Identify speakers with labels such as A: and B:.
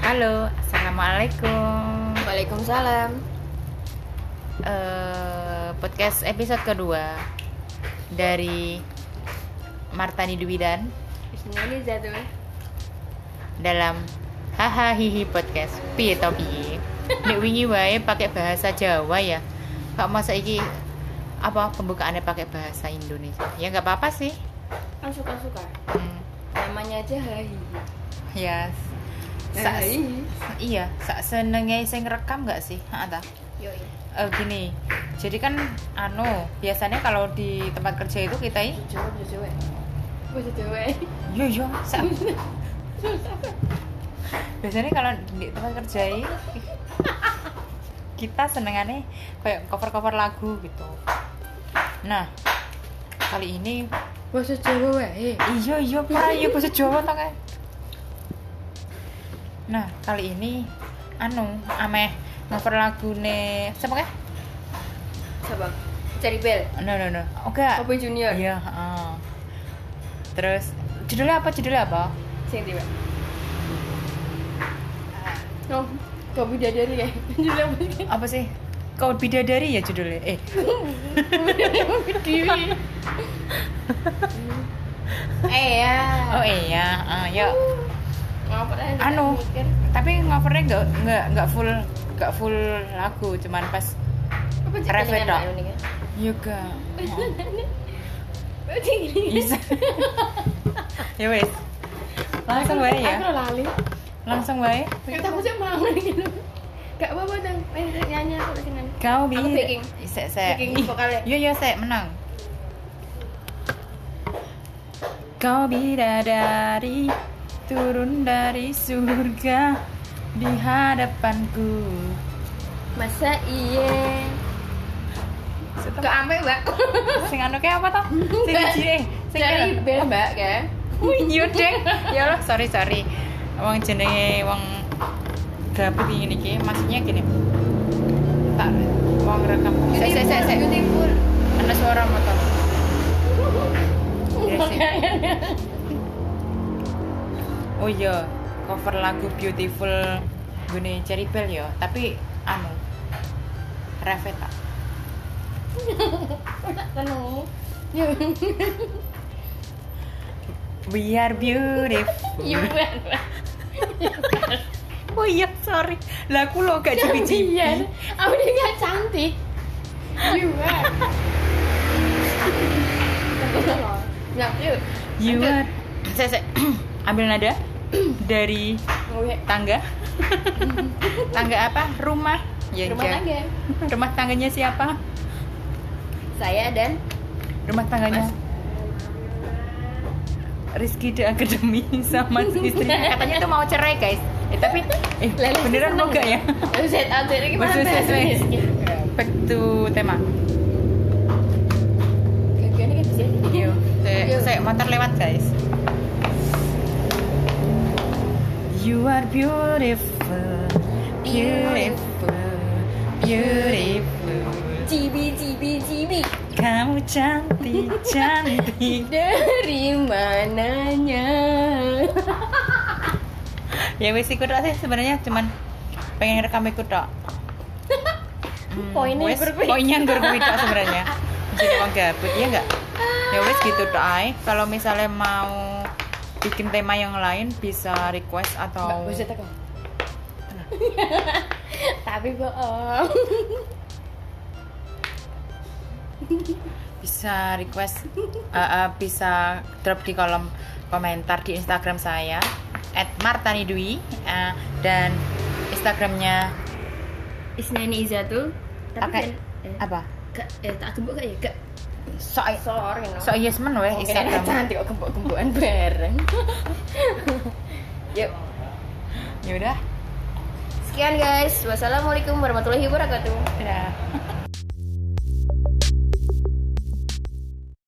A: Halo, assalamualaikum.
B: Waalaikumsalam.
A: Eh, podcast episode kedua dari Martani Dwidan
B: Bismillah tuh.
A: dalam Haha Hihi Podcast. Piye to piye? Nek wingi wae pakai bahasa Jawa ya. Kak masa iki apa pembukaannya pakai bahasa Indonesia? Ya nggak apa-apa sih.
B: Kan suka-suka.
A: Hmm,
B: Namanya aja Hai.
A: ya. Sa-
B: Hai.
A: iya, sak senenge sing rekam nggak sih? Ha ta?
B: Yo.
A: Eh, gini. Jadi kan anu, biasanya kalau di tempat kerja itu kita i-
B: Jawab yo cewek. Wes cewek.
A: Yo yo, sa- biasanya kalau di tempat kerja i, kita senengannya kayak cover-cover lagu gitu. Nah, kali ini
B: Wes cewek wae.
A: iya iya pra iya bahasa Jawa to kan. Nah, kali ini anu ameh cover lagune siapa kan?
B: Coba cari bel.
A: No no no. Oke.
B: Kopi Junior.
A: Iya, heeh. Terus judulnya apa? Judulnya apa?
B: Sing tiba. Oh, kopi dadari ya. Jujur apa sih?
A: apa sih kau bidadari ya judulnya eh
B: Dewi. Eh ya.
A: oh iya ah, yuk
B: Ngapa tadi?
A: Anu.
B: Mikir.
A: tapi ngovernya nggak nggak nggak full nggak full lagu cuman pas
B: Apa sih
A: Revenge
B: kelingan
A: dong.
B: Mbak Uni, ya?
A: yoga Iya.
B: Apa sih kelingan?
A: bisa ya wes langsung wae ya
B: Aku lali.
A: langsung wae
B: Kita aku sih mau gitu. Gak apa-apa dong. Main nyanyi aku lagi nyanyi.
A: kau bi
B: Aku backing.
A: sek sek Ih,
B: Backing vokalnya.
A: yo yo sek menang kau bidadari turun dari surga di hadapanku
B: Masa iya.
A: Setem-
B: Gak ampe, Mbak.
A: sing anu kayak apa toh? Sing siji eh, sing
B: Cari
A: kira.
B: bel, Mbak, kan.
A: Wih, iya deng. Ya Allah, sorry sorry. Wong jenenge wong gabut ini iki, maksudnya gini. Tak wong rekam. Sek sek sek sek.
B: Beautiful.
A: Ana suara motor. Iya, sih. Oh iya, cover lagu Beautiful gune Cherry Bell ya, tapi anu Reveta.
B: Tenung.
A: We are beautiful.
B: Iya, Mbak.
A: Oh iya, sorry. Lah aku lo gak
B: Iya.
A: cipi-cipi.
B: Aku dia gak cantik. Iya, Mbak. Ya,
A: Iya,
B: yuk.
A: You are. Saya, saya ambil nada dari
B: Ngewek.
A: tangga. tangga apa? Rumah. Ya,
B: Rumah
A: ya.
B: tangga.
A: Rumah tangganya siapa?
B: Saya dan
A: Rumah tangganya
B: Mas.
A: Rizky The Academy sama istrinya. Katanya tuh mau cerai, guys. Eh, tapi eh
B: Lele sih
A: beneran
B: seneng. Ah,
A: mau gak ya?
B: Wes ada ini gimana?
A: Wes, wes, wes.
B: Wes, wes.
A: Back to tema. Iya. E.
B: Gagiannya kayak bisa.
A: Yo,
B: Yo.
A: saya motor lewat guys. You are beautiful, beautiful, beautiful.
B: Cibi cibi cibi
A: Kamu cantik, cantik.
B: dari mananya?
A: ya wes ikut tok sih sebenarnya cuman pengen rekam ikut tok. Hmm,
B: Poinnya
A: wes,
B: nggur kuwi.
A: Poinnya nggur kuwi tok sebenarnya. Jadi orang gabut ya enggak? Ya wes gitu tok ae. Kalau misalnya mau bikin tema yang lain bisa request atau
B: Mbak, buset aku. Tapi bohong.
A: bisa request eh, eh, bisa drop di kolom komentar di Instagram saya @martanidwi eh, dan Instagramnya
B: Isnani Izzatul. kan,
A: pakai
B: eh.
A: apa
B: tak gembok kayak gak.
A: so
B: Sorry no.
A: so yes men weh Instagram
B: Instagram cantik kok gembok-gembokan bareng. Yuk,
A: ya udah
B: sekian guys. Wassalamualaikum warahmatullahi wabarakatuh.
A: udah